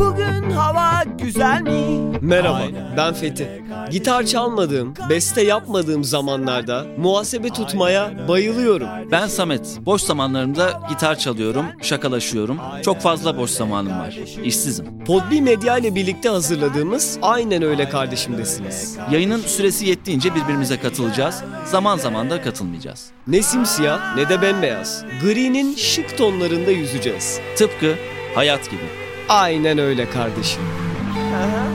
Bugün hava güzel mi? Merhaba, Aynen ben öyle Fethi. kardeşim. Gitar çalmadığım, beste yapmadığım zamanlarda muhasebe tutmaya bayılıyorum. Ben Samet. Boş zamanlarımda gitar çalıyorum, şakalaşıyorum. Çok fazla boş zamanım var. İşsizim. Podbi Medya ile birlikte hazırladığımız Aynen Öyle Kardeşim'desiniz. Yayının süresi yettiğince birbirimize katılacağız. Zaman zaman da katılmayacağız. Ne simsiyah ne de bembeyaz. Gri'nin şık tonlarında yüzeceğiz. Tıpkı hayat gibi. Aynen öyle kardeşim. Aha.